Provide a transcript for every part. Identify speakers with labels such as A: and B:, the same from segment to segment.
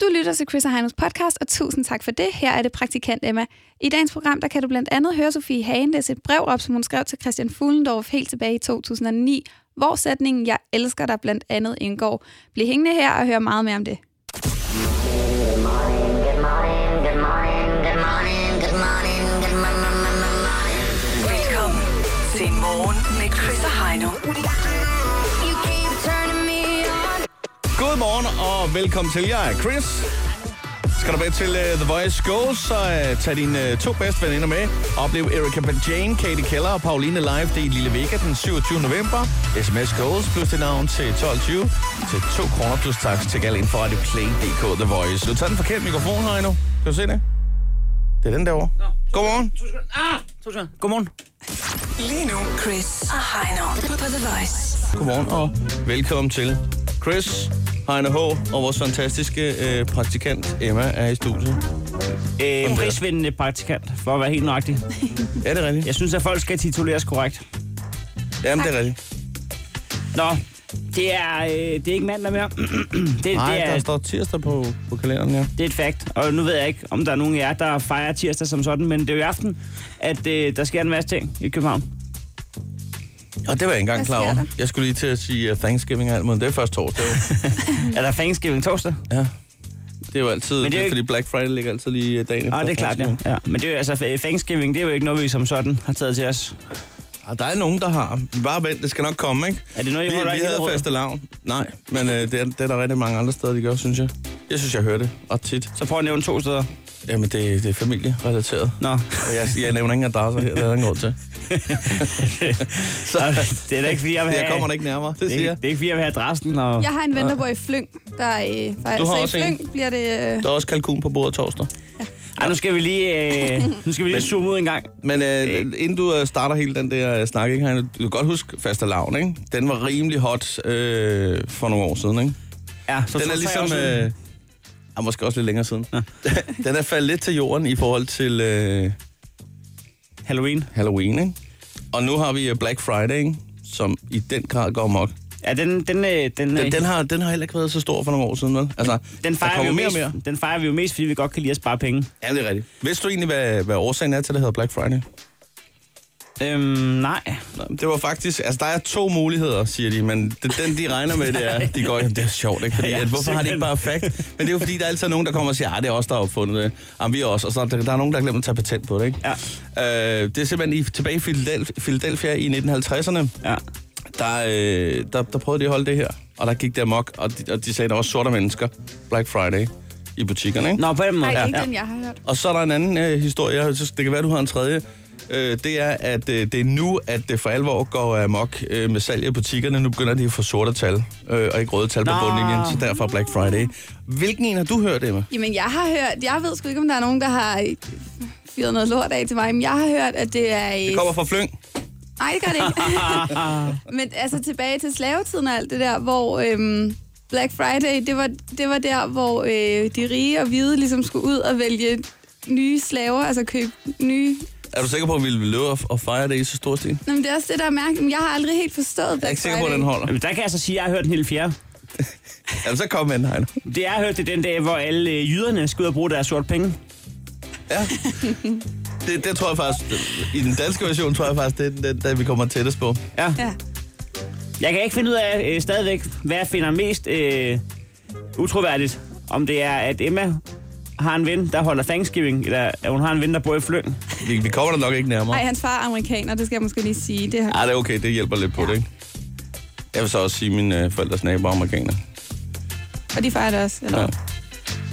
A: Du lytter til Chris og Heinos podcast, og tusind tak for det. Her er det praktikant Emma. I dagens program der kan du blandt andet høre Sofie Hagen læse et brev op, som hun skrev til Christian Fuglendorf helt tilbage i 2009, hvor sætningen Jeg elsker dig blandt andet indgår. Bliv hængende her og hør meget mere om det.
B: Good morning, good morning, good morning, good morning, good morning.
C: Velkommen til Morgen med Chris og Heino.
B: You keep turning me on.
D: Godmorgen og velkommen til. Jeg er Chris. Skal du med til uh, The Voice Go, så uh, tag dine uh, to bedste veninder med. Oplev Erika Bajane, Katie Keller og Pauline live. Det er i Lille Vega den 27. november. SMS Goals plus dit navn til 12.20 til 2 kroner plus tax til gal inden for Radio Play.dk The Voice. Du tager den forkerte mikrofon her endnu. Kan du se det? Det er den derovre. Godmorgen. Godmorgen.
C: Lige nu, Chris og Heino på The Voice.
D: Godmorgen og velkommen til Chris, Heine H. og vores fantastiske øh, praktikant Emma er i studiet.
E: Øh, prisvindende praktikant, for at være helt nøjagtig.
D: Er det rigtigt?
E: Jeg synes, at folk skal tituleres korrekt.
D: Jamen, det er rigtigt.
E: Nå, det er, øh, det er ikke mandag mere. det, det,
D: Nej,
E: er,
D: der står tirsdag på, på kalenderen, ja.
E: det er et fakt. Og nu ved jeg ikke, om der er nogen af jer, der fejrer tirsdag som sådan, men det er jo i aften, at øh, der sker en masse ting i København.
D: Og det var jeg ikke engang
A: Hvad
D: klar
A: sker
D: over.
A: der?
D: Jeg skulle lige til at sige uh, Thanksgiving og alt muligt. Det er først torsdag. jo.
E: Er der Thanksgiving torsdag?
D: ja. Det er jo altid,
E: Men
D: det
E: det
D: er
E: er jo
D: fordi Black Friday ligger altid lige øh, dagen efter.
E: Nå, Ah, det er klart, ja. ja. Men det er jo, altså, øh, Thanksgiving, det er jo ikke noget, vi som sådan har taget til os.
D: Og Ah, der er nogen, der har. Bare vent, det skal nok komme, ikke?
E: Er det noget, I
D: vi,
E: holder i
D: vi havde
E: Hillerød?
D: faste lavn. Nej, men øh, det, er, det er der rigtig mange andre steder, de gør, synes jeg. Jeg synes, jeg hører det. Og tit.
E: Så prøv at nævne to steder.
D: Jamen, det, det er familierelateret.
E: Nå,
D: Og jeg, jeg nævner ingen adresser her, det er der ingen grund til. Så
E: Altså, det er da ikke, fordi jeg vil have...
D: jeg kommer da ikke nærmere, det
E: det er,
D: siger
E: ikke,
D: jeg.
E: det er ikke, fordi jeg vil have adressen og...
A: Jeg har en ven, der bor i Flyng. Der er, øh, faktisk,
D: Du har
A: så
D: også
A: i
D: en.
A: Flyng bliver det... Øh,
D: Der er også kalkun på bordet torsdag.
E: Ej, nu skal vi lige, øh, nu skal vi lige zoome ud en gang.
D: Men øh, inden du øh, starter hele den der øh, snak, ikke, Heine, du kan godt huske faste lavn, ikke? Den var rimelig hot øh, for nogle år siden, ikke?
E: Ja, så
D: den er ligesom...
E: Øh,
D: Øh, ja, måske også lidt længere siden. den er faldet lidt til jorden i forhold til øh,
E: Halloween.
D: Halloween, ikke? Og nu har vi øh, Black Friday, ikke? som i den grad går mok.
E: Ja, den, den, øh, den,
D: Den,
E: øh,
D: den, har, den har heller ikke været så stor for nogle år siden, vel? Altså,
E: den,
D: der
E: fejrer
D: kommer
E: vi jo
D: mere og
E: mest,
D: mere.
E: den fejrer vi jo mest, fordi vi godt kan lide at spare penge.
D: Ja, det er rigtigt. Vidste du egentlig, hvad, hvad årsagen er til, at det hedder Black Friday?
E: Øhm, nej.
D: Nå, men Det var faktisk, altså der er to muligheder, siger de, men det, den de regner med, det er, de går, jamen, det er sjovt, ikke? Fordi,
E: Ja,
D: ja, at, hvorfor har de ikke
E: simpelthen.
D: bare fakt? Men det er jo fordi, der er altid nogen, der kommer og siger, at det er os, der har opfundet det. Jamen, vi er også, og så er der, der er nogen, der glemmer at tage patent på det, ikke?
E: Ja.
D: Øh, det er simpelthen i, tilbage i Philadelphia, Philadelphia i 1950'erne,
E: Ja.
D: der, øh, der, der prøvede de at holde det her, og der gik der mok, og de, og de sagde, at der var sorte mennesker, Black Friday, i butikkerne, ikke?
E: Nå, på den
A: nej,
E: måde.
A: det er
E: ja.
A: ikke den, jeg har hørt.
D: Og så er der en anden øh, historie, jeg synes, det kan være, du har en tredje. Øh, det er, at øh, det er nu, at det for alvor går amok øh, med salg i butikkerne. Nu begynder de at få sorte tal, øh, og ikke røde tal på
E: Nå.
D: bundlinjen, så derfor er Black Friday. Hvilken en har du hørt, Emma?
A: Jamen, jeg har hørt... Jeg ved sgu ikke, om der er nogen, der har øh, fyret noget lort af til mig, men jeg har hørt, at det er... øh,
D: Det kommer fra Flyng.
A: Nej, det gør det ikke. Men altså tilbage til slavetiden og alt det der, hvor øhm, Black Friday, det var, det var der, hvor øh, de rige og hvide ligesom skulle ud og vælge nye slaver, altså købe nye...
D: Er du sikker på, at vi vil løbe og- og fejre det i så stor stil? Jeg
A: Nå, men det er også det, der er mærkeligt. Men Jeg har aldrig helt forstået Black
D: er ikke sikker på, at
A: Friday.
D: den holder.
E: Jamen, Der kan jeg så sige, at jeg har hørt en hel fjerde.
D: Jamen, så kom med den, Heino.
E: Det jeg har hørt, det er den dag, hvor alle øh, jyderne skal ud og bruge deres sorte penge.
D: Ja. Det, det tror jeg faktisk, i den danske version, tror jeg faktisk, det er den- den, der vi kommer tættest på.
E: Ja.
A: Ja.
E: Jeg kan ikke finde ud af øh, stadigvæk, hvad jeg finder mest øh, utroværdigt. Om det er, at Emma har en ven, der holder Thanksgiving, eller at hun har en ven, der bor i Flyng.
D: Vi, vi kommer der nok ikke nærmere.
A: Nej, hans far er amerikaner, det skal jeg måske lige sige. Det har...
D: Ah, det er okay. Det hjælper lidt på det, ikke? Jeg vil så også sige, at mine øh, forældres nabo er amerikaner.
A: Og de fejrer det også. Eller?
D: Ja.
A: Ja.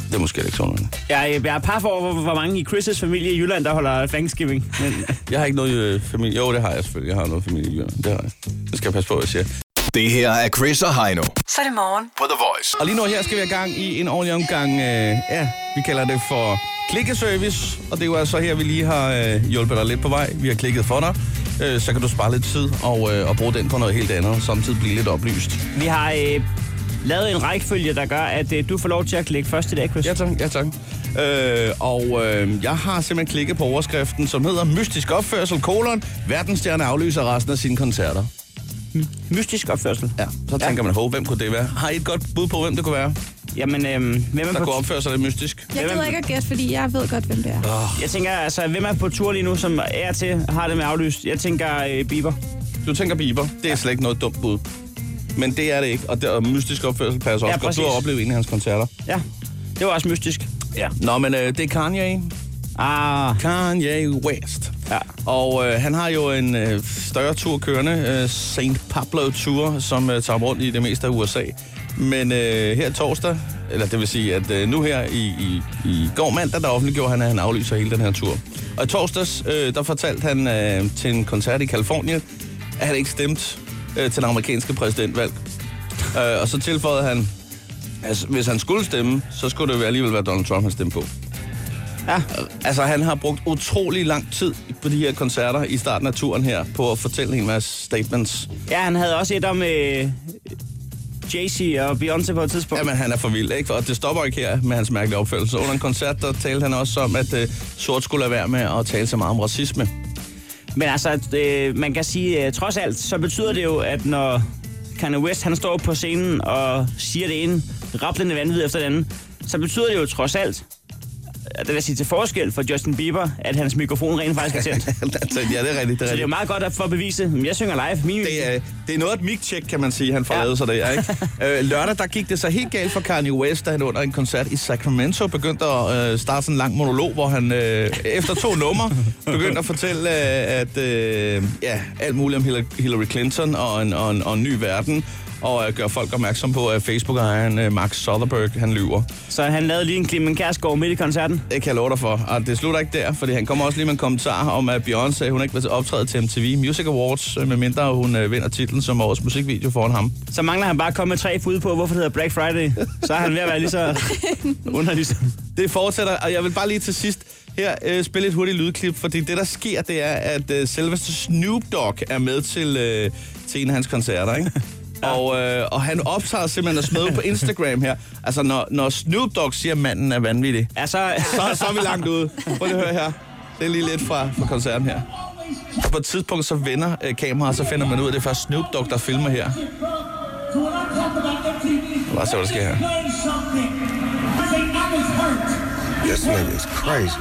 D: Det er måske ikke sådan noget.
E: Jeg, jeg er par for, hvor, hvor mange i Chris' familie i Jylland, der holder Thanksgiving. Men,
D: Jeg har ikke noget øh, familie. Jo, det har jeg selvfølgelig. Jeg har noget familie i Jylland. Det har jeg. Det skal jeg passe på, hvad jeg siger.
F: Det her er Chris og Heino
C: Så er det morgen.
F: på The Voice.
D: Og lige nu her skal vi have gang i en ordentlig omgang. Øh, ja, vi kalder det for klikkeservice. Og det er jo altså her, vi lige har øh, hjulpet dig lidt på vej. Vi har klikket for dig. Øh, så kan du spare lidt tid og, øh, og bruge den på noget helt andet. Og samtidig blive lidt oplyst.
E: Vi har øh, lavet en rækkefølge, der gør, at øh, du får lov til at klikke først i dag, Chris.
D: Ja tak, ja tak. Øh, og øh, jeg har simpelthen klikket på overskriften, som hedder Mystisk opførsel, kolon, verdensstjerne aflyser resten af sine koncerter.
E: Mystisk opførsel.
D: Ja, så tænker man, hov, hvem kunne det være? Har I et godt bud på, hvem det kunne være?
E: Jamen, øhm, hvem er
D: der
E: på
D: kunne opføre sig lidt mystisk.
A: Jeg gider ikke at gætte, fordi jeg ved godt, hvem det er.
D: Ah.
E: Jeg tænker, altså, hvem er på tur lige nu, som er til har det med aflyst? Jeg tænker øh, Bieber.
D: Du tænker Bieber. Det er slet ikke noget dumt bud. Men det er det ikke, og, det, og mystisk opførsel passer også
E: Ja,
D: ja, godt. Du har
E: præcis.
D: oplevet en af hans koncerter.
E: Ja, det var også mystisk.
D: Ja. Nå, men øh, det er Kanye.
E: Ah,
D: Kanye West.
E: Ja.
D: Og øh, han har jo en øh, større tur kørende, øh, St. Pablo Tour, som øh, tager rundt i det meste af USA. Men øh, her torsdag, eller det vil sige, at øh, nu her i, i, i går mandag, der offentliggjorde han, at han aflyser hele den her tur. Og i torsdags, øh, der fortalte han øh, til en koncert i Kalifornien, at han ikke stemte øh, til den amerikanske præsidentvalg. Øh, og så tilføjede han, altså, hvis han skulle stemme, så skulle det jo alligevel være Donald Trump, han stemte på. Altså, han har brugt utrolig lang tid på de her koncerter i starten af turen her, på at fortælle en masse statements.
E: ja, han havde også et om øh, Jay-Z og Beyoncé på et tidspunkt.
D: Jamen, han er for vild, ikke? Og det stopper ikke her med hans mærkelige opførselse. Under en koncert, der talte han også om, at øh, sort skulle lade være med at tale så meget om racisme.
E: Men altså, at, øh, man kan sige, øh, trods alt, så betyder det jo, at når Kanye West han står på scenen og siger det ene, rablende vanvid efter det andet, så betyder det jo trods alt, at det vil sige til forskel for Justin Bieber, at hans mikrofon rent faktisk er tændt. så
D: Altså, ja, det er rigtigt, det er
E: det er jo
D: rigtigt.
E: meget godt at få at bevise, at jeg synger live. Min
D: Det er, det er noget af et mic-check, kan man sige, han får
E: Ja.
D: lavet sig der, ikke? Øh, lørdag, der gik det så helt galt for Kanye West, da han under en koncert i Sacramento begyndte at øh, starte sådan en lang monolog, hvor han øh, efter to numre begyndte at fortælle, øh, at øh, ja, alt muligt om Hillary- Hillary Clinton og en, og en, og en ny verden, og øh, gøre folk opmærksom på, at Facebook-ejeren øh, Mark Zuckerberg, han lyver.
E: Så han lavede lige en Clemen Kærsgaard midt i koncerten.
D: Det kan jeg love dig for. Og det slutter ikke der, fordi han kommer også lige med en kommentar om, at Beyoncé, hun ikke vil optræde til MTV Music Awards, øh, medmindre hun øh, vinder titlen som årets musikvideo foran ham.
E: Så mangler han bare at komme med tre bud på, hvorfor det hedder Black Friday. Så er han ved at være lige så underlig. som-
D: Det fortsætter, og jeg vil bare lige til sidst her øh, spille et hurtigt lydklip, fordi det, der sker, det er, at øh, selveste Snoop Dogg er med til, øh, til en af hans koncerter, ikke? Og, øh, og han optager simpelthen at smide ud på Instagram her. Altså, når, når Snoop Dogg siger, at manden er vanvittig,
E: Ja, så,
D: så, så er vi langt ude. Prøv lige at høre her. Det er lige lidt fra, fra koncerten her. På et tidspunkt, så vender øh, kameraet, og så finder man ud af, at det er først Snoop Dogg, der filmer her. Lad os se, hvad der sker her.
G: This nigga's crazy.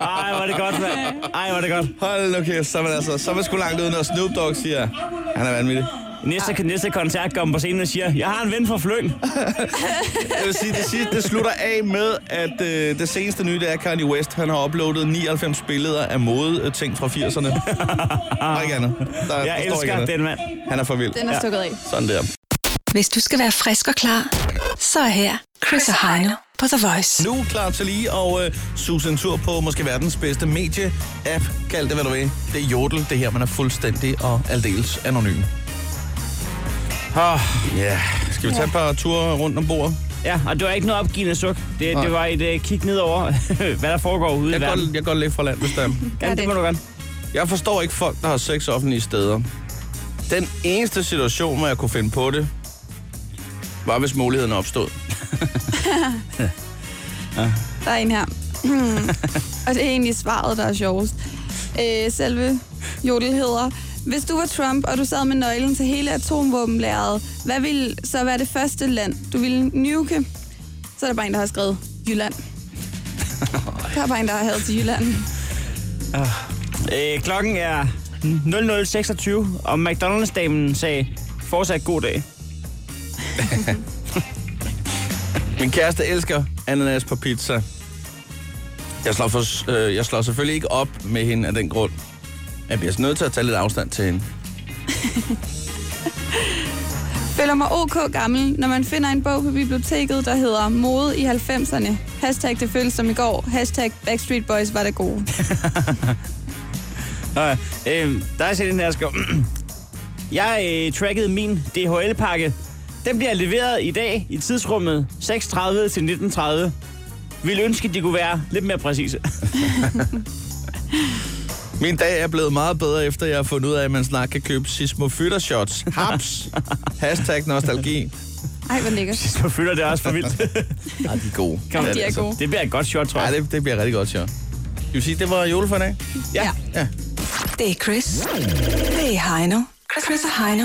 E: Ej, hvor er det godt, mand. Ej, hvor er det godt.
D: Hold nu kæft, så er man altså, så er man sgu langt ude, når Snoop Dogg siger, han er vanvittig.
E: Næste, næste koncert kommer på scenen og siger, jeg har en ven fra Fløng.
D: Jeg vil sige, det, sidste, det slutter af med, at øh, det seneste nye, det er at Kanye West. Han har uploadet 99 billeder af mode øh, ting fra 80'erne. Og ikke andet. Der, der står
E: Jeg
D: ikke
E: elsker
D: andet.
E: den mand.
D: Han er for vild.
A: Den er stukket af.
D: Sådan der.
C: Hvis du skal være frisk og klar, så er her Chris og Heino på The Voice.
D: Nu er klar til lige og øh, suge en tur på måske verdens bedste medie-app. Kald det, hvad du vil. Det er Jodel. Det er her, man er fuldstændig og aldeles anonym.
E: Oh,
D: Ja, skal vi tage et par ture rundt om bordet?
E: ja, og det var ikke noget opgivende suk. Det,
D: Nej.
E: det var et uh, kig ned over, hvad der foregår ude
D: Jeg
E: i
D: kan
E: verden.
D: godt, jeg kan godt lægge fra land, hvis der er.
E: Ja, det må du gerne.
D: Jeg forstår ikke folk, der har sex offentlige steder. Den eneste situation, hvor jeg kunne finde på det, var, hvis muligheden opstod.
A: Der er en her. og det er egentlig svaret, der er sjovest. Øh, selve jodel hedder, hvis du var Trump, og du sad med nøglen til hele atomvåbenlæret, hvad ville så være det første land, du ville nuke? Så er der bare en, der har skrevet Jylland. Der er bare en, der har hadet til Jylland.
E: Øh, klokken er 00.26, og McDonald's-damen sagde, fortsat god dag.
D: Min kæreste elsker ananas på pizza. Jeg slår, for, øh, jeg slår selvfølgelig ikke op med hende af den grund. Jeg bliver så nødt til at tage lidt afstand til hende.
A: Føler mig ok gammel, når man finder en bog på biblioteket, der hedder Mode i 90'erne. Hashtag det føles som i går. Hashtag Backstreet Boys var det gode.
E: Nå, ja. øh, der er sådan en her, der skriver, Jeg øh, trackede min DHL-pakke. Den bliver leveret i dag i tidsrummet 6.30 til 19.30. Ville ønske, de kunne være lidt mere præcise.
D: Min dag er blevet meget bedre, efter jeg har fundet ud af, at man snart kan købe sismofyttershots. Haps! Hashtag nostalgi.
A: Ej, hvor lækkert.
E: Så føler det også for vildt.
D: Ej, de er gode.
E: Kan man-
A: de er gode.
E: Det bliver et godt shot, tror
D: Ej,
E: jeg.
D: det, det bliver rigtig godt, sjovt. Skal vi sige, det var jule for i dag?
A: Ja.
D: Ja.
C: Det er Chris. Det er Heino. Chris og Heino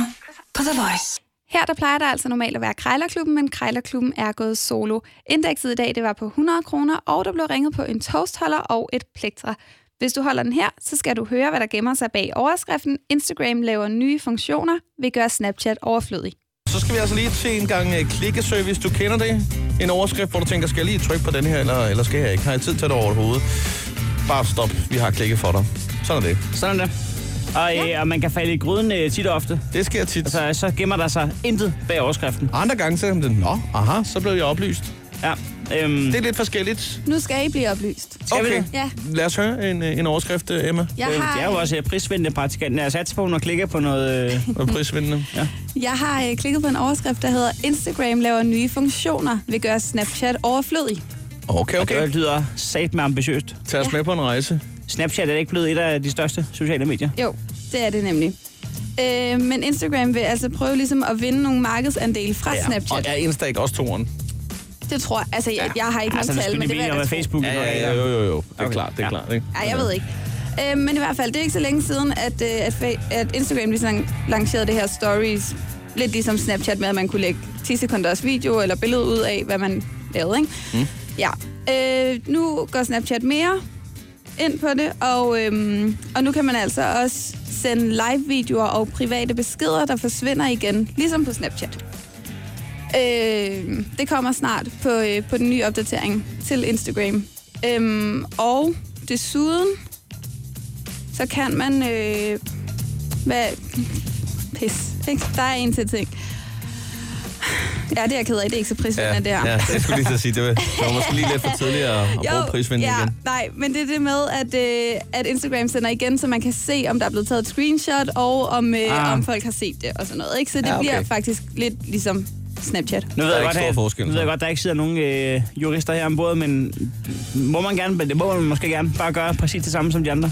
C: på The Voice.
A: Her der plejer der altså normalt at være Krejlerklubben, men Krejlerklubben er gået solo. Indekset i dag det var på 100 kroner, og der blev ringet på en toastholder og et plektra. Hvis du holder den her, så skal du høre, hvad der gemmer sig bag overskriften. Instagram laver nye funktioner, vil gøre Snapchat overflødig.
D: Så skal vi altså lige til en gang øh, klikkeservice. Du kender det. En overskrift, hvor du tænker, skal jeg lige trykke på den her, eller, eller skal jeg ikke? Har jeg tid til det overhovedet? Bare stop. Vi har klikket for dig. Sådan er det.
E: Sådan er det. Og, ja. og man kan falde i gryden øh, tit og ofte.
D: Det sker tit.
E: Så, så gemmer der sig intet bag overskriften.
D: Andre gange så er det, nå, aha, så blev jeg oplyst.
E: Ja. Øhm,
D: Det er lidt forskelligt.
H: Nu skal I blive oplyst.
E: Skal vi
D: Okay,
E: det?
H: Ja.
D: lad os høre en, øh, en overskrift, øh, Emma.
H: Jeg
E: øh,
H: har,
E: jeg er jo også øh, prisvindende praktikant. Jeg satser på, at hun har klikket på noget... Øh,
D: Og prisvindende. Ja.
A: Jeg har øh, klikket på en overskrift, der hedder Instagram laver nye funktioner, vil gøre Snapchat overflødig.
D: Okay,
E: okay.
D: okay.
E: Det lyder sat med ambitiøst.
D: Tag os med på en rejse.
E: Snapchat er ikke blevet et af de største sociale medier.
A: Jo, det er det nemlig. Øh, men Instagram vil altså prøve ligesom at vinde nogle markedsandele fra ja,
D: Og
A: Snapchat.
D: er Insta ikke også toren?
A: Det tror jeg. Altså, jeg, jeg har ikke
E: Altså,
A: nogen
E: nu
A: tal,
E: skal
A: men
E: de
A: det vil
E: vide,
A: jeg
E: hvad
A: da tro.
E: Facebook
D: Ja, ja, ja, jo, jo, jo. Det er okay. klart, det er ja. klart, ikke?
A: Ej, jeg ved ikke. Øh, men i hvert fald, det er ikke så længe siden, at, øh, at, fa- at Instagram ligesom lancerede det her stories. Lidt ligesom Snapchat med, at man kunne lægge 10 sekunders video eller billede ud af, hvad man lavede, ikke? Mm. Ja. Øh, nu går Snapchat mere ind på det, og, øhm, og nu kan man altså også sende live-videoer og private beskeder, der forsvinder igen, ligesom på Snapchat. Øh, det kommer snart på, øh, på den nye opdatering til Instagram. Øhm, og desuden, så kan man... Øh, hvad? Pis. Ikke? Der er en til ting. Ja, det er jeg ked af. Det er ikke så prisvindende, det her.
D: ja, jeg skulle lige til at sige, det var, det var måske lige lidt for tidligt at, at bruge prisvindende
A: ja,
D: igen.
A: Nej, men det er det med, at, øh, at Instagram sender igen, så man kan se, om der er blevet taget et screenshot, og om, øh,
E: Ah.
A: ah. om folk har set det og sådan noget. Ikke? Så det
D: Ja,
A: ja,
D: okay.
A: okay. bliver faktisk lidt ligesom Snapchat.
E: Nu ved,
D: Der er
E: jeg
D: ikke
E: godt,
D: stor
E: at,
D: forskel,
E: nu ved
D: så.
E: jeg godt, der ikke sidder nogen øh, jurister her ombord, men må man gerne, men det må man måske gerne bare gøre præcis det samme som de andre.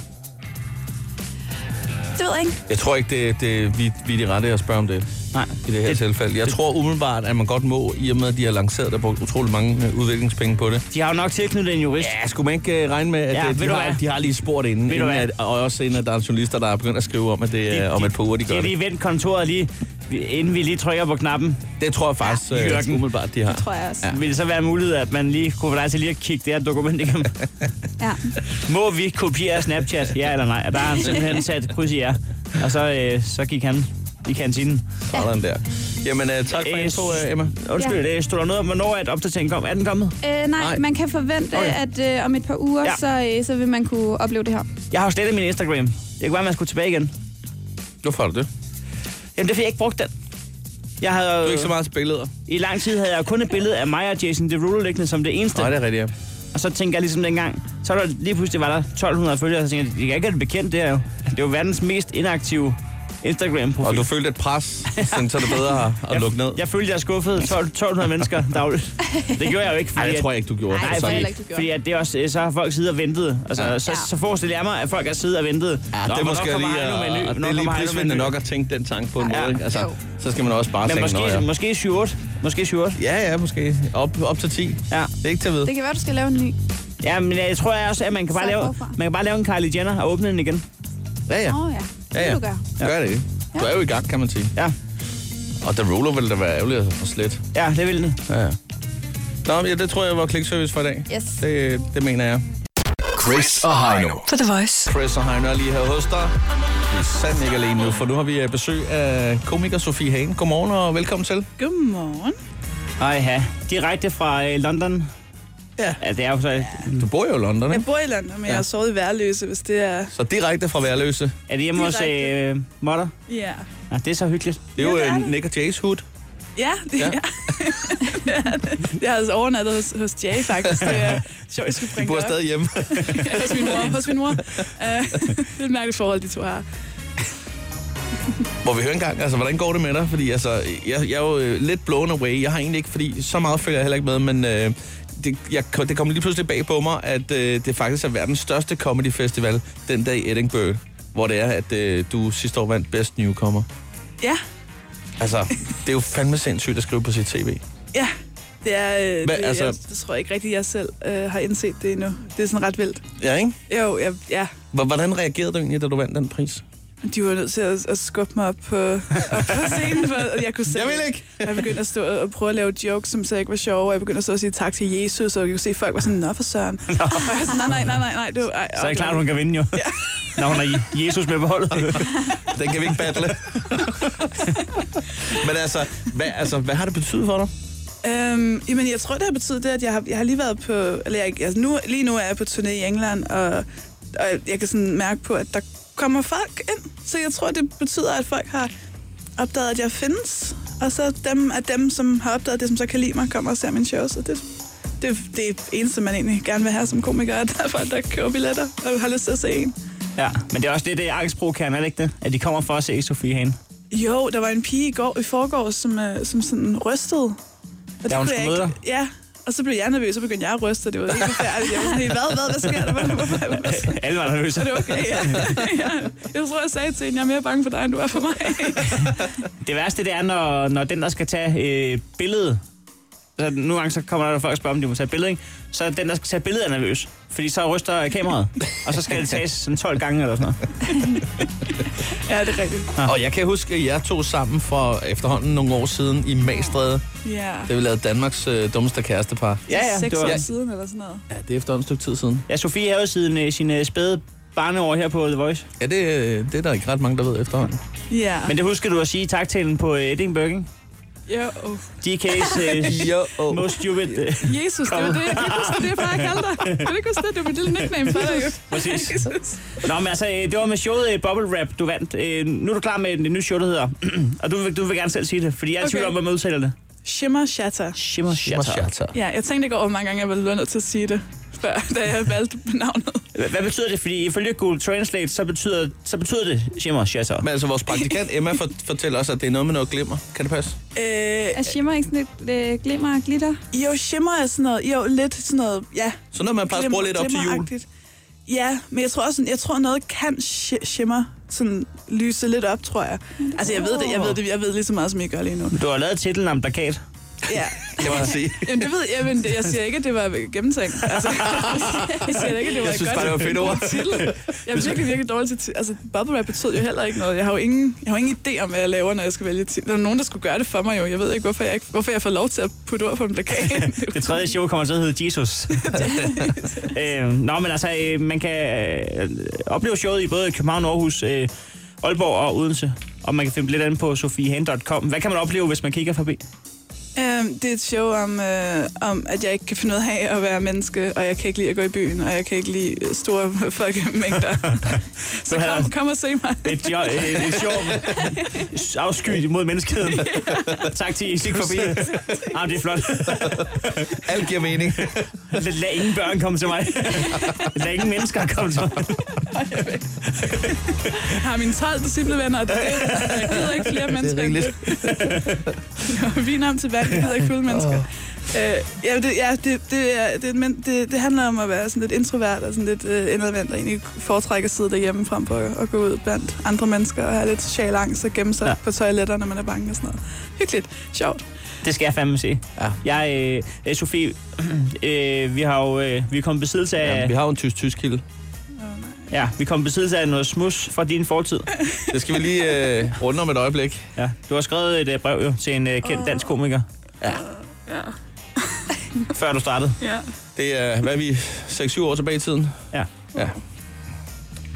A: Det ved jeg ikke.
D: Jeg tror ikke, det, det, vi, vi er de rette at spørge om det
E: Nej.
D: i det her det, tilfælde. Jeg det, tror umiddelbart, at man godt må, i og med, at de har lanceret og brugt utrolig mange øh, udviklingspenge på det.
E: De har jo nok tilknyttet en jurist.
D: Ja, skulle man ikke øh, regne med, at
E: Ja,
D: ja,
E: ved
D: de,
E: du
D: har,
E: hvad?
D: de har lige spurgt inden,
E: Ved du
D: inden
E: hvad?
D: at, og også inden, at der er journalister, der er begyndt at skrive om, at det er Øh, om et par uger, de gør
E: Skal
D: det.
E: lige vente kontoret lige, inden vi lige trykker på knappen.
D: Det tror jeg faktisk
E: Ja,
D: ja,
E: Jørgen.
D: umiddelbart, de har.
A: Tror jeg også.
D: Ja.
A: Ja.
E: Vil det så være en mulighed, at man lige kunne få dig til lige at kigge det her dokument igennem?
A: ja.
E: Må vi kopiere Snapchat? Ja eller nej? Og der har han simpelthen sat kryds i ja. Og så, øh, så gik han i kantinen.
D: Sådan der. Jamen, øh, tak for
E: Øh,
D: info, øh, Emma.
E: Undskyld, ja. stod der noget om, hvornår at opdateringen kom? Er den kommet?
A: Øh, nej,
D: Nej.
A: nej, man kan forvente,
D: Okay.
A: okay. at øh, om et par uger,
E: Ja.
A: ja. så, øh, så vil man kunne opleve det her.
E: Jeg har jo slettet min Instagram. Det kan være, man skulle tilbage igen.
D: Hvorfor har du det?
E: Jamen, det er fordi, jeg ikke brugte den. Jeg havde,
D: Du
E: jo-
D: er ikke så meget til billeder.
E: I lang tid havde jeg kun et billede af mig og Jason Derulo liggende som det eneste.
D: Nej, det er rigtigt, ja.
E: Og så tænkte jeg ligesom dengang, så var der lige pludselig var der 1200 følgere, og så tænkte jeg, det kan ikke være det bekendt, det her jo. Det er jo verdens mest inaktive Instagram-profil.
D: Og du følte et pres, sådan, så er det bedre at, at lukke ned.
E: Jeg følte, jeg skuffede 12, 1200 mennesker dagligt. Det gjorde jeg jo ikke,
D: Nej,
E: fordi...
D: det tror
E: at-
D: jeg ikke, du gjorde.
E: Nej,
D: Sådan.
H: tror jeg heller
E: fordi,
H: ikke, du gjorde.
E: fordi at det er også, øh, så har folk siddet og ventet. Altså,
D: Ja.
E: ja. så,
H: Ja.
E: så forestiller jeg mig, at folk har siddet og ventet.
D: Ja,
E: Nå,
D: det er
E: hvornår
D: måske
E: kommer
D: lige,
E: Heino med en ny?
D: at, at det
E: Hvornår
D: er lige
E: kommer Heino med en
D: prisvindende
E: ny?
D: nok at tænke den tanke på en
E: Ja.
D: måde. ikke? Altså,
H: Jo.
D: så skal man også bare
E: Men
D: tænke
E: måske,
D: noget. Ja.
E: måske 7-8. Måske 7-8.
D: Ja, ja, måske. Op, op til 10.
E: Ja.
D: Det er ikke til at vide.
H: Det kan være, du skal lave en ny.
E: Ja, men jeg tror jeg også, at man kan, bare
H: Så
E: lave,
H: forfra.
E: man kan bare lave en Kylie Jenner og åbne den igen.
D: Ja, ja.
H: Åh oh, ja, det
D: ja,
H: kan
D: ja.
H: du gøre.
D: Gør det. Du er jo i gang, kan man sige.
E: Ja,
D: Og The Roller ville da være ærgerlig og slet.
E: ja det vil den.
D: Ja, ja. Nå, men ja, det tror jeg var klikservice for i dag.
H: Yes.
D: Det, det mener jeg.
F: Chris og Heino.
C: På The Voice.
D: Chris og Heino er lige her hos dig. Vi er sandt ikke alene nu, for nu har vi øh, besøg af komiker Sofie Hagen. Godmorgen og velkommen til.
H: Godmorgen.
E: Ej, ja. Direkte fra øh, London.
H: Ja.
E: ja. det er jo så...
D: Du bor jo i London,
I: Jeg
D: ikke?
I: bor i London, men ja. jeg har sovet i værløse, hvis det er...
D: Så direkte fra Værløse.
E: Er det hjemme hos
I: Direkte.
E: øh, Motter?
I: Ja.
E: Ja, det er så hyggeligt.
D: Det er jo
I: Ja, det er
D: øh,
I: det.
D: Nick og Jay's hood.
I: Ja, det
D: Ja.
I: ja. er Det er det. Jeg har altså overnattet hos, hos Jay, faktisk. Det er sjovt, jeg skulle
D: De
I: bringe
D: bor
I: det op.
D: stadig hjemme.
I: Hos min mor. Hos min mor. Uh, det er et mærkeligt forhold, de to har.
D: Må vi høre engang, altså, hvordan går det med dig? Fordi altså, jeg, jeg er jo øh, lidt blown away. Jeg har egentlig ikke, fordi så meget følger jeg heller ikke med, men øh, det, jeg, det kom lige pludselig bag på mig, at øh, det faktisk er verdens største comedy festival den dag i Edinburgh, hvor det er, at øh, du sidste år vandt Best Newcomer.
I: Ja,
D: Altså, det er jo fandme sindssygt at skrive på sit tv.
I: ja. Det er... Øh,
D: Hvad,
I: det,
D: altså-
I: altså... jeg, det tror jeg ikke rigtigt, jeg selv øh, har indset det endnu. Det er sådan ret vildt.
D: Ja, ikke?
I: Jo, jeg, ja.
D: Hvor- Hvordan reagerede du egentlig, da du vandt den pris?
I: De var nødt til at, at skubbe mig op på, op på scenen, for at jeg kunne se.
D: Jeg vil ikke.
I: Jeg begyndte at stå og prøve at lave jokes, som så ikke var sjove, og jeg begyndte at stå og sige tak til Jesus, og jeg kunne se, at folk var sådan, nå for søren. Og jeg var sådan, nej, nej, nej, nej, nej. Du, ej,
E: Så er det klart, at hun kan vinde jo. Ja. Når hun er Jesus med på holdet.
D: Den kan vi ikke battle. Men altså hvad, altså, hvad har det betydet for dig?
I: Øhm, jamen, jeg tror, det har betydet det, at jeg har, jeg har lige været på... Eller jeg, altså nu, lige nu er jeg på turné i England, og, og jeg kan sådan mærke på, at der kommer folk ind. Så jeg tror, det betyder, at folk har opdaget, at jeg findes. Og så dem af dem, som har opdaget det, som så kan lide mig, kommer og ser mine shows. Og det, det, det er det eneste, man egentlig gerne vil have som komiker, at der er folk, der køber billetter og har lyst til at se en.
E: Ja, men det er også det, det er angstprovokerende, er det ikke det? At de kommer for at se Sofie Hane.
I: Jo, der var en pige i går i forgårs, som, øh, som sådan rystede. Og
E: hun
I: blev jeg
E: skulle møde
I: ikke- Ja, og så blev jeg nervøs, så begyndte jeg at ryste, og det var helt forfærdeligt. Jeg var sådan, helt, hvad, hvad, hvad sker der? Hvorfor- hvorfor- hvorfor-
E: Altså, Alle var nervøse.
I: Er det okay? Ja. ja. Jeg tror, jeg sagde til hende, jeg er mere bange for dig, end du er for mig.
E: Det værste, det er, når, når den, der skal tage øh, billedet, så nogle gange så kommer der folk og spørger, om de må tage billede, ikke? så er den, der skal tage billedet, er nervøs. Fordi så ryster kameraet, og så skal det tages sådan 12 gange eller sådan noget.
I: ja, det er rigtigt.
D: Og jeg kan huske, at jeg tog sammen for efterhånden nogle år siden i Magstræde,
I: Ja.
D: da vi lavede Danmarks øh, dummeste kærestepar.
E: Ja, ja,
I: Seks
E: det var,
I: år siden eller sådan noget.
D: Ja, det er efterhånden et stykke tid siden.
E: ja Sofie havde jo siden øh, sine spæde barneår her på The Voice.
D: Ja, det, øh, det er der ikke ret mange, der ved efterhånden.
I: Ja.
E: Men det husker du at sige tak til hende på øh, Edinburgh, ikke?
I: Jo. oh.
E: DK's øh,
D: Jo,
E: most stupid... Øh,
I: Jesus, det var det. Jeg kan ikke huske, det er bare, jeg kaldte dig. Jeg kan ikke huske det. Det var mit lille nickname for dig, jo.
E: Præcis.
I: Jesus.
E: Nå, men altså, øh, det var med showet øh, Bubble Rap, du vandt. Øh, Nu er du klar med et nyt show, der hedder... og du, vil- du vil gerne selv sige det, fordi jeg er i
I: Okay.
E: tvivl om, hvad man udtaler det.
I: Shimmer Shatter.
E: Shimmer Shatter.
I: Ja, jeg tænkte ikke over, hvor mange gange jeg var nødt til at sige det, før da jeg valgte navnet.
E: Hva- Hvad betyder det? Fordi ifølge Google Translate, så betyder, så betyder det Shimmer Shatter.
D: Men altså, vores praktikant Emma for, fortæller os, at det er noget med noget glimmer. Kan det passe?
I: Øh,
A: Er shimmer ikke sådan lidt øh, glimmer og glitter?
I: jo, shimmer er sådan noget, jo, lidt sådan noget, ja.
D: Så når man plejer at bruge lidt op til jul.
I: glimmeragtigt. Ja, men jeg tror også, sådan- jeg tror noget kan shi- shimmer, sådan lyse lidt op, tror jeg. Altså, jeg ved det, jeg ved det, jeg ved lige så meget, som jeg gør lige nu.
E: Du har lavet titlen om plakat.
I: Ja.
D: Kan man sige.
I: Jamen, det ved jeg, men det, jeg siger ikke, at det var gennemtænkt. Altså, jeg siger ikke, at det var
D: Jeg
I: et
D: synes
I: godt
D: bare, det var fedt ord.
I: titel. Jeg er virkelig, virkelig dårlig til ti- Altså, bubble wrap betød jo heller ikke noget. Jeg har jo ingen, jeg har jo ingen idé om, hvad jeg laver, når jeg skal vælge titel. Der er nogen, der skulle gøre det for mig jo. Jeg ved ikke, hvorfor jeg, ikke, hvorfor jeg får lov til at putte ord på en plakat.
E: Det tredje show kommer til at hedde Jesus. øh, nå, men altså, øh, man kan øh, opleve showet i både København, Aarhus, øh, Aalborg og Odense. Og man kan finde lidt andet på sofiehan.com. Hvad kan man opleve, hvis man kigger forbi?
I: Øhm, det er et show om, øh, om, at jeg ikke kan finde ud af at være menneske, og jeg kan ikke lide at gå i byen, og jeg kan ikke lide øh, store folkemængder. Så kom, kom og se mig.
E: Et, jo, øh, et show afskyet mod menneskeheden. tak til I. Kig forbi. Ah, det er flot.
D: Alt giver mening.
E: Lad ingen børn komme til mig. Lad ingen mennesker komme til mig.
I: Jeg har mine 12 disciplevenner, og det er det. Jeg gider ikke flere mennesker. end
D: rigeligt.
I: det. Vin om til vand, jeg gider ikke fulde mennesker. Øh, ja, det, ja det, det, er, det, men det, det handler om at være sådan lidt introvert og sådan lidt øh, indadvendt, og egentlig foretrække at sidde derhjemme frem på at, at gå ud blandt andre mennesker og have lidt social angst og gemme sig
E: Ja.
I: ja. på toiletter, når man er bange og sådan noget. Hyggeligt. Sjovt.
E: Det skal jeg fandme se.
D: Ja.
E: Jeg, øh, øh, Sofie, øh, vi har jo øh, vi er kommet i besiddelse af...
D: Ja, vi har jo en tysk-tysk kilde.
E: Ja, vi kom i besiddelse af noget smus fra din fortid.
D: Det skal vi lige øh, runde om et øjeblik.
E: Ja, du har skrevet et øh, brev jo, til en øh, kendt dansk komiker. Ja. ja. Før du startede.
I: Ja.
D: Det er, hvad er vi, 6-7 år tilbage i tiden.
E: Ja.
D: Ja.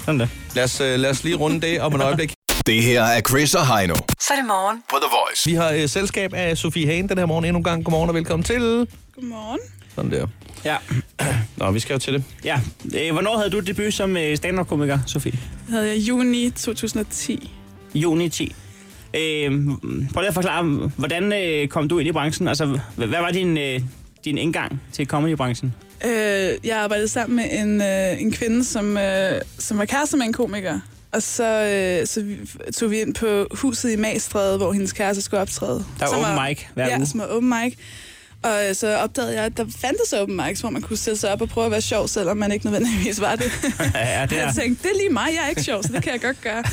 E: Sådan det.
D: Lad os, øh, lad os lige runde det om et øjeblik.
F: Det her er Chris og Heino
C: Så er det morgen.
F: på The Voice.
D: Vi har øh, selskab af Sofie Hagen den her morgen endnu en gang. Godmorgen og velkommen til.
I: Godmorgen.
D: Sådan der.
E: Ja.
D: Nå, vi skal jo til det.
E: ja. Øh, hvornår havde du debut som øh, stand-up-komiker, Sofie?
I: Det havde jeg i juni 2010.
E: Juni 10. Øh, prøv lige at forklare, hvordan øh, kom du ind i branchen? Altså, h- hvad var din, øh, din indgang til comedybranchen?
I: Øh, jeg arbejdede sammen med en, øh, en kvinde, som, øh, som var kæreste med en komiker. Og så, øh, så vi, tog vi ind på huset i Magstræde, hvor hendes kæreste skulle optræde.
E: Der var
I: Som
E: open mic hver
I: ja,
E: uge.
I: som var open mic. Og øh, så opdagede jeg, at der fandtes open mics, hvor man kunne stille sig op og prøve at være sjov, selvom man ikke nødvendigvis var det.
E: Ja, ja, det
I: Jeg tænkte, det er lige mig, jeg er ikke sjov, så det kan jeg godt gøre.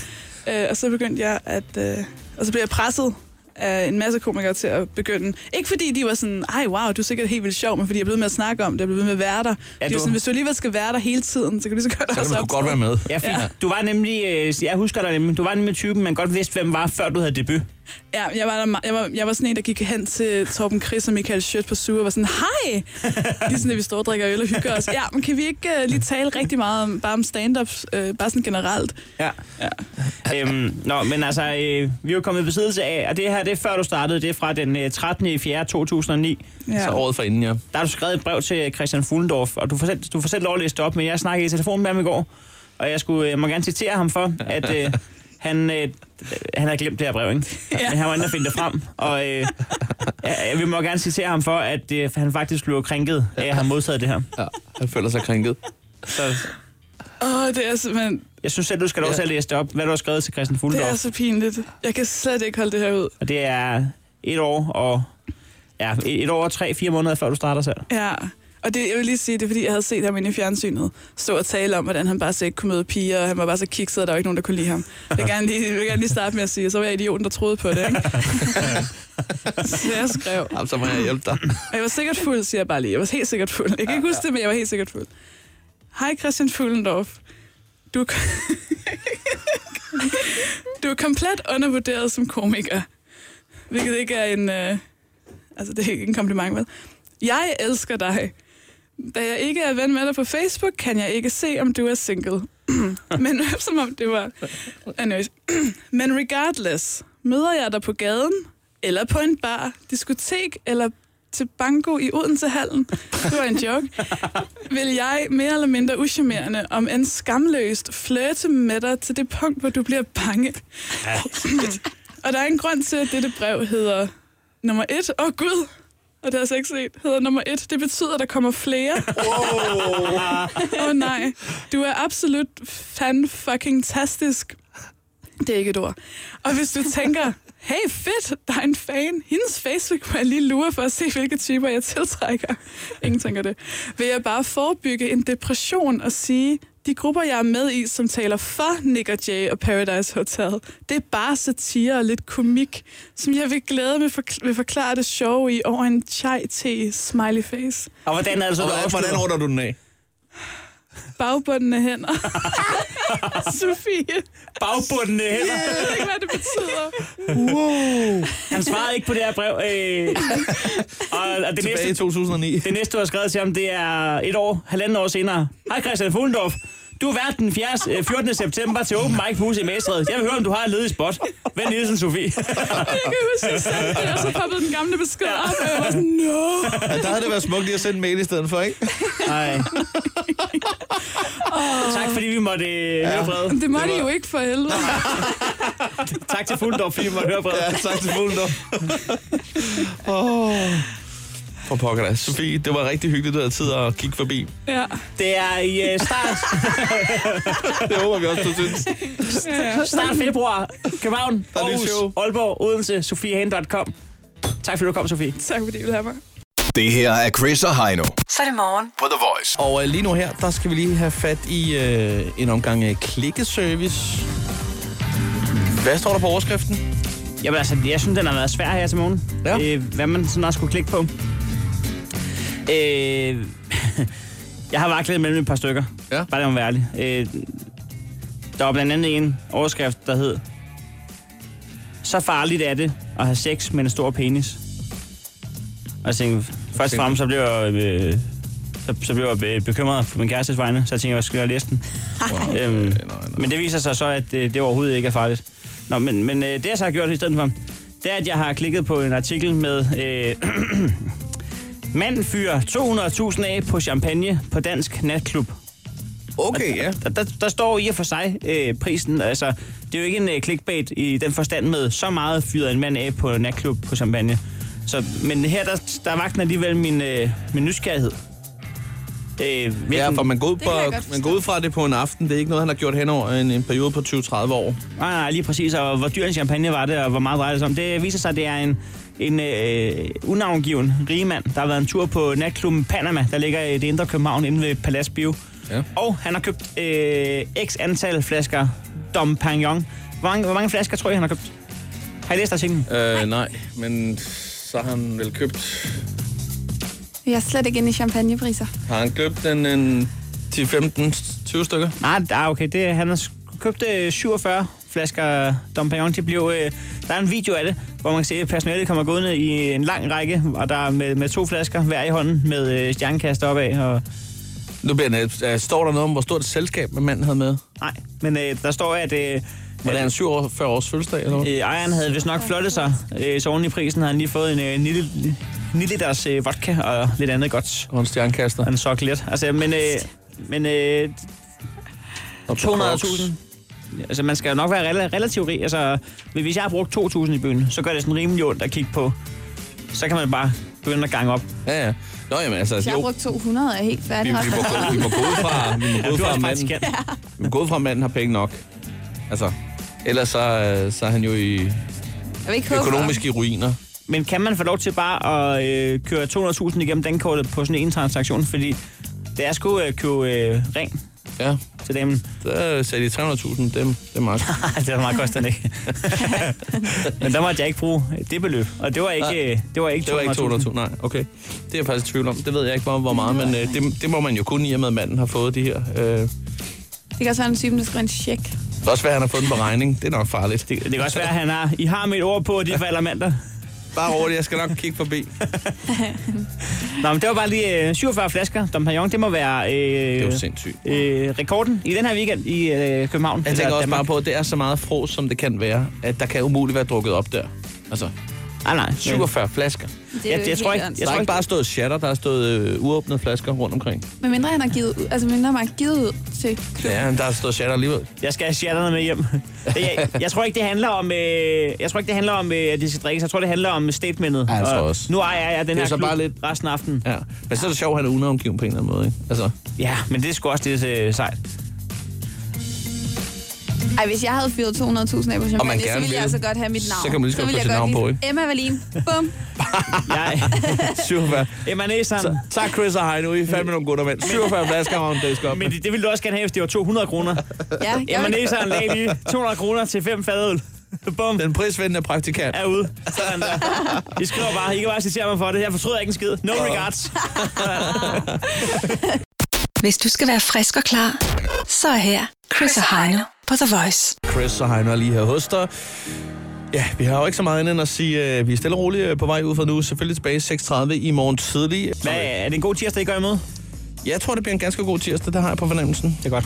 I: øh, og så begyndte jeg at... Øh, og så blev jeg presset af en masse komikere til at begynde. Ikke fordi de var sådan, ej wow, du er sikkert helt vildt sjov, men fordi jeg blev ved med at snakke om det, jeg blev ved med at være der. Ja, de
E: du-
I: var sådan, hvis du alligevel skal være der hele tiden, så kan du lige så godt
D: Så kan
I: også
D: man sgu godt være med.
E: Ja, fordi ja. du var nemlig, øh, jeg husker dig nemlig, du var nemlig typen, man godt vidste, hvem var, før du havde debut.
I: Ja, jeg var, der, me- jeg, var, jeg var sådan en, der gik hen til Torben Chris og Michael Schødt på Sure og var sådan, hej! Lige sådan, at vi står og drikker øl og hygger os. Ja, men kan vi ikke uh, lige tale rigtig meget om, bare om stand-up, uh, bare sådan generelt?
E: Ja. ja. Øhm, nå, men altså, øh, vi er jo kommet i besiddelse af, og det her, det er før du startede, det er fra den øh, 13. i 4. 2009.
I: Ja.
D: Så året for inden, ja.
E: Der har du skrevet et brev til Christian Fuglendorf, og du får selv, du får selv lov at læse det op, men jeg snakkede i telefonen med ham i går, og jeg, skulle, jeg må gerne citere ham for, at øh, han, øh, han havde glemt det her brev, ikke? Ja. Men han var inde og finde det frem, og øh, ja, vi må gerne citere ham for, at øh, han faktisk blev krænket af at have modtaget det her.
D: ja. Han føler sig krænket.
E: Så
I: Åh, oh, det er simpelthen,
E: jeg synes selv, du skal lov til at læse det op, hvad du har skrevet til Christian
I: det
E: Fuglendorf.
I: er så pinligt. Jeg kan slet ikke holde det her ud.
E: Og det er et år og... Ja, et, et år og tre, fire måneder, før du starter selv.
I: Ja, og det, jeg vil lige sige, det er fordi, jeg havde set ham inde i fjernsynet stå og tale om, hvordan han bare så ikke kunne møde piger, og han var bare så kikset, og der var ikke nogen, der kunne lide ham. Jeg vil gerne lige, jeg vil gerne lige starte med at sige, så var jeg idioten, der troede på det, ikke? så jeg skrev.
D: Jamen, så må jeg hjælpe dig.
I: Og jeg var sikkert fuld, siger jeg bare lige. Jeg var helt sikkert fuld. Jeg kan ikke huske det, men jeg var helt sikkert fuld. Hej Christian Fuglendorf. Du er, ko- du er komplet undervurderet som komiker. Hvilket ikke er en... Øh, altså, det er ikke en kompliment, vel? Jeg elsker dig. Da jeg ikke er ven med dig på Facebook, kan jeg ikke se, om du er single. Men som om det var... Anyways. Men regardless, møder jeg dig på gaden, eller på en bar, diskotek, eller til banko i Odensehallen, det var en joke, vil jeg mere eller mindre uschammerende om en skamløst flirte med dig til det punkt, hvor du bliver bange. og der er en grund til, at dette brev hedder nummer et. Åh oh, gud, og det har jeg så ikke set. Hedder nummer et. Det betyder, at der kommer flere. Åh oh, nej. Du er absolut fan fucking tastisk. Det er ikke et ord. Og hvis du tænker, hey fedt, der er en fan. Hendes Facebook må jeg lige lure for at se, hvilke typer jeg tiltrækker. Ingen tænker det. Vil jeg bare forebygge en depression og sige, de grupper, jeg er med i, som taler for Nick og Jay og Paradise Hotel, det er bare satire og lidt komik, som jeg vil glæde med forkl- vil forklare det sjove i over en chai-te smiley face.
E: Og hvordan er det så, du
D: Hvordan, hvordan
E: afslutter?
D: ordner du den af?
I: Bagbundne hænder. Sofie,
E: Bagbundene hænder.
I: jeg ved ikke, hvad det betyder.
E: Han svarede ikke på det her brev. Øh, og, og det,
D: Tilbage i
E: næste,
D: 2009.
E: det næste, du har skrevet til ham, det er et år, halvanden år senere. Hej Christian Fuglendorf. Du er vært den 4. øh, 14. september til Open Mic på Huset i Mæsred. Jeg vil høre, om du har en ledig spot. Vend Nielsen, Sofie.
I: Jeg kan huske, at jeg sendte det, og så poppede den gamle besked op, og jeg var sådan, no.
D: Ja, der havde det været smukt lige at sende en mail i stedet for, ikke?
E: Nej. Tak fordi vi måtte øh, høre brevet.
I: Det måtte I jo ikke for helvede.
E: Tak til Fuglendorf, fordi vi måtte høre brevet.
D: Ja, tak til Fuglen dog. Åh. For pokker da. Sofie, det var rigtig hyggeligt, du havde tid at kigge forbi.
I: Ja.
E: Det er i øh, start
D: Det håber vi også, du synes.
E: Start februar. København,
D: er nyt
E: Aarhus,
D: show.
E: Aalborg, Odense, sofiehane.com. Tak fordi du kom, Sofie.
I: Tak fordi I ville have mig.
F: Det her er Chris og Heino
C: Så er det morgen.
F: på The Voice.
D: Og øh, lige nu her, der skal vi lige have fat i øh, en omgang øh, klikkeservice. Hvad står der på overskriften?
E: Jamen altså, jeg synes, den har været svær her til morgen.
D: Ja.
E: Øh, hvad man sådan også skulle klikke på. Øh, jeg har vaklet mellem et par stykker.
D: Ja.
E: Bare det må være ærlig. Øh, der var blandt andet en overskrift, der hed... Så farligt er det at have sex med en stor penis. Og jeg tænkte, først og
D: tænkte
E: fremmest, så blev jeg... Øh, så, så blev jeg øh, bekymret på min kærestes vegne, så jeg tænkte, jeg skulle jeg læse den.
D: Wow.
E: Øhm, Men det viser sig så, at øh, det overhovedet ikke er farligt. Nå, men, men øh, det jeg så har gjort i stedet for, det er, at jeg har klikket på en artikel med... Øh, Mand fyrer 200.000 af på champagne på dansk natklub.
D: Okay, ja.
E: Der, der, der står i og for sig øh, prisen. Altså, det er jo ikke en øh, clickbait i den forstand med, så meget fyret en mand af på en natklub på champagne. Så, men her, der, der vagten alligevel min, øh, min nysgerrighed. Øh,
D: Ja,
E: hvilken-
D: for man går, ud på,
I: kan jeg godt
D: man går ud fra det på en aften. Det er ikke noget, han har gjort hen over en, en periode på 20-30 år.
E: Nej, nej, lige præcis. Og hvor dyr en champagne var det, og hvor meget drejede det sig om. Det viser sig, at det er en, en øh, unavngiven rigemand, der har været en tur på natklubben Panama, der ligger i det indre København inde ved Palace Bio.
D: Ja.
E: Og han har købt øh, x antal flasker Dom Pignon. Hvor mange, hvor mange flasker tror I, han har købt? Har I læst artiklen?
D: Øh, nej, men så har han vel købt...
A: Jeg er slet ikke inde i champagnepriser.
D: Har han købt den en 10-15-20 stykker?
E: Nej, ah, okay. Det, han har sk- købt øh, 47 flasker Dom Perignon. De blev, øh, der er en video af det, hvor man kan se, at personalet kommer gående i en lang række, og der er med, med to flasker hver i hånden med øh, stjernekast opad. Og,
D: Nu bliver det, øh, står der noget om, hvor stort et selskab manden havde med?
E: nej, men øh, der står, at... Øh,
D: Var det en 47 års fødselsdag, eller hvad?
E: Øh, ejeren havde vist nok flottet sig, øh, så oven i prisen har han lige fået en øh, 9, 9 liters øh, vodka og lidt andet godt.
D: Og en stjernekaster.
E: Og en sok lidt. Altså, men, øh, men øh,
D: Og
E: 200.000. Altså, man skal jo nok være rel- relativt rig. Altså, hvis jeg har brugt 2.000 i byen, så gør det sådan rimelig ondt at kigge på. Så kan man bare begynde at gange op.
D: Ja, ja. Nå, jamen altså,
A: Jeg
D: jo.
A: har brugt 200 og er helt
D: Vi,
A: færdig.
D: vi, må, gå- vi må gå ud fra, vi må gå ud
E: du
D: fra,
E: er
D: at
E: også
D: manden,
E: praktikant.
D: vi må gå ud fra, at manden har penge nok. Altså, ellers så, øh, så er han jo i
A: Jeg vil ikke håbe
D: økonomisk
A: Økonomisk.
D: i ruiner.
E: Men kan man få lov til bare at øh, køre 200.000 igennem dankortet på sådan en transaktion? Fordi da jeg skulle øh, købe øh, ring
D: Ja,
E: til damen,
D: så sagde de 300.000, dem, dem magt.
E: Ej, det var meget kostet ikke. Men der måtte jeg ikke bruge det beløb. Og det var ikke, øh, det var ikke
D: Det var ikke
E: 200.000.
D: 202, nej, okay. Det er jeg faktisk i tvivl om. Det ved jeg ikke, hvor hvor meget, men øh, det, det må man jo kun i og med, at manden har fået de her. Øh. Det
A: Det kan også være en type, der skriver en check.
D: kan også være, at han har fået den på regning. Det er nok farligt.
E: Det, det kan også være, at han har, I har mit ord på, at de falder mandag.
D: Bare roligt, jeg skal nok kigge forbi.
E: Nå, men det var bare lige øh, 47 flasker. Dom Perignon, det må være
D: Det er
E: øh,
D: jo sindssygt.
E: øh, rekorden i den her weekend i øh, København.
D: Jeg tænker
E: Eller
D: også bare
E: Danmark.
D: på, at det er så meget fros, som det kan være, at der kan umuligt være drukket op der. Altså,
E: Ah, nej,
D: 47 flasker.
A: Det
E: Ja,
A: jo
E: det
A: helt
E: tror jeg ikke.
A: åndssvagt.
D: Jeg der
E: tror
D: har
E: ikke-
D: ikke bare stået shatter, der har stået øh, uåbnede flasker rundt omkring.
A: Men mindre han har givet ud, altså mindre man har givet ud til klubben.
D: Ja, der har stået shatter alligevel.
E: Jeg skal have shatterne med hjem. Jeg, jeg tror ikke, det handler om, øh, jeg tror ikke, det handler om øh, at de skal drikkes. Jeg tror, det handler om statementet.
D: Ja, jeg tror
E: Og
D: også.
E: Nu ejer jeg den
D: er
E: her
D: så
E: klub
D: bare lidt-
E: resten af aftenen.
D: Ja. Men så er det sjovt, at han er unavngiven på en eller anden måde, ikke? Altså,
E: Ja, men det er sgu også det øh, sejt.
A: Ej, hvis jeg havde fyret 200.000 af på
D: Og man
A: champagne, så
D: gerne
A: ville jeg
D: vil.
A: altså godt have mit navn.
D: Så kan man lige så godt
A: ville jeg
D: få sit
A: godt
D: navn på,
A: lige- Emma Valin. Bum.
E: Jeg,
D: 47.
E: Emma Næsand.
D: Tak Chris og Heino, I er fandme nogle gutter, mand. 47 flasker om det skal op.
E: Men det, det ville du også gerne have, hvis det var 200 kroner.
A: Ja, jeg
E: Jamen,
A: vil-
E: Næseren lagde lige 200 kroner til fem fadøl. Bum,
D: Den prisvindende praktikant.
E: er ude. Sådan der. I skriver bare, I kan bare citere mig for det. Jeg fortryder ikke en skid. No regards.
C: Hvis du skal være frisk og klar, så er her Chris og Heino på The Voice.
D: Chris og Heino er lige her hos dig. Ja, vi har jo ikke så meget andet end at sige, at vi er stille og roligt øh, på vej ud fra nu. Selvfølgelig tilbage 6.30 i morgen tidlig.
E: Hvad, er det en god tirsdag, I gør imod?
D: Jeg tror, det bliver en ganske god tirsdag, det har jeg på fornemmelsen.
E: Det er godt.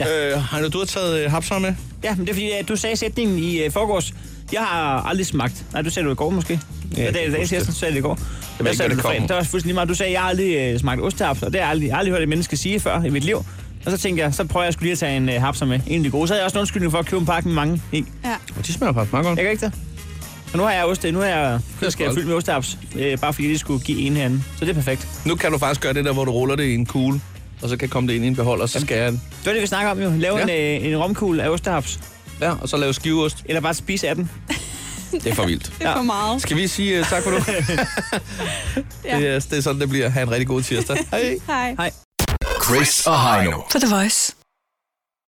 D: Øh, Heino, du har taget øh, hapsar med.
E: Ja, men det er fordi, at du sagde sætningen i uh, forgårs. Jeg har aldrig smagt. Nej, du sagde det i går måske. Ja,
D: jeg kan
E: det er
D: ikke
E: det,
D: huske
E: jeg
D: det.
E: sagde det i går.
D: ikke,
E: Hvad
D: hvad
E: sagde
D: det
E: du på
D: kommer.
E: fredag? Det var også fuldstændig lige meget. Du sagde, at jeg har aldrig uh, smagt ostehaps, og det har jeg aldrig, aldrig hørt et menneske sige før i mit liv. Og så tænkte jeg, så prøver jeg skulle lige at tage en uh, hapser med. En af de gode. Så havde jeg også en undskyldning for at købe en pakke med mange i.
A: Ja.
D: Og de smager faktisk meget godt.
E: Jeg kan ikke det. Og nu har jeg oste, nu har jeg køleskab
D: stolt.
E: fyldt med ostehaps, øh, bare fordi det skulle give en herinde. Så det er perfekt.
D: Nu kan du faktisk gøre det der, hvor du ruller det i en kugle, og så kan komme det ind i en beholder, og så skærer jeg den.
E: Det var det, vi snakker om jo. Lave
D: Ja.
E: ja. en, øh, en romkugle af ostehaps,
D: Ja, og så lave skiveost.
E: eller bare spise af den.
D: Det er for vildt.
A: Det er for meget.
D: Skal vi sige uh, tak for nu?
A: Ja.
D: det, er, det er sådan, det bliver. Ha' en rigtig god tirsdag. Hej.
A: Hej.
F: Chris og Heino.
C: På The Voice.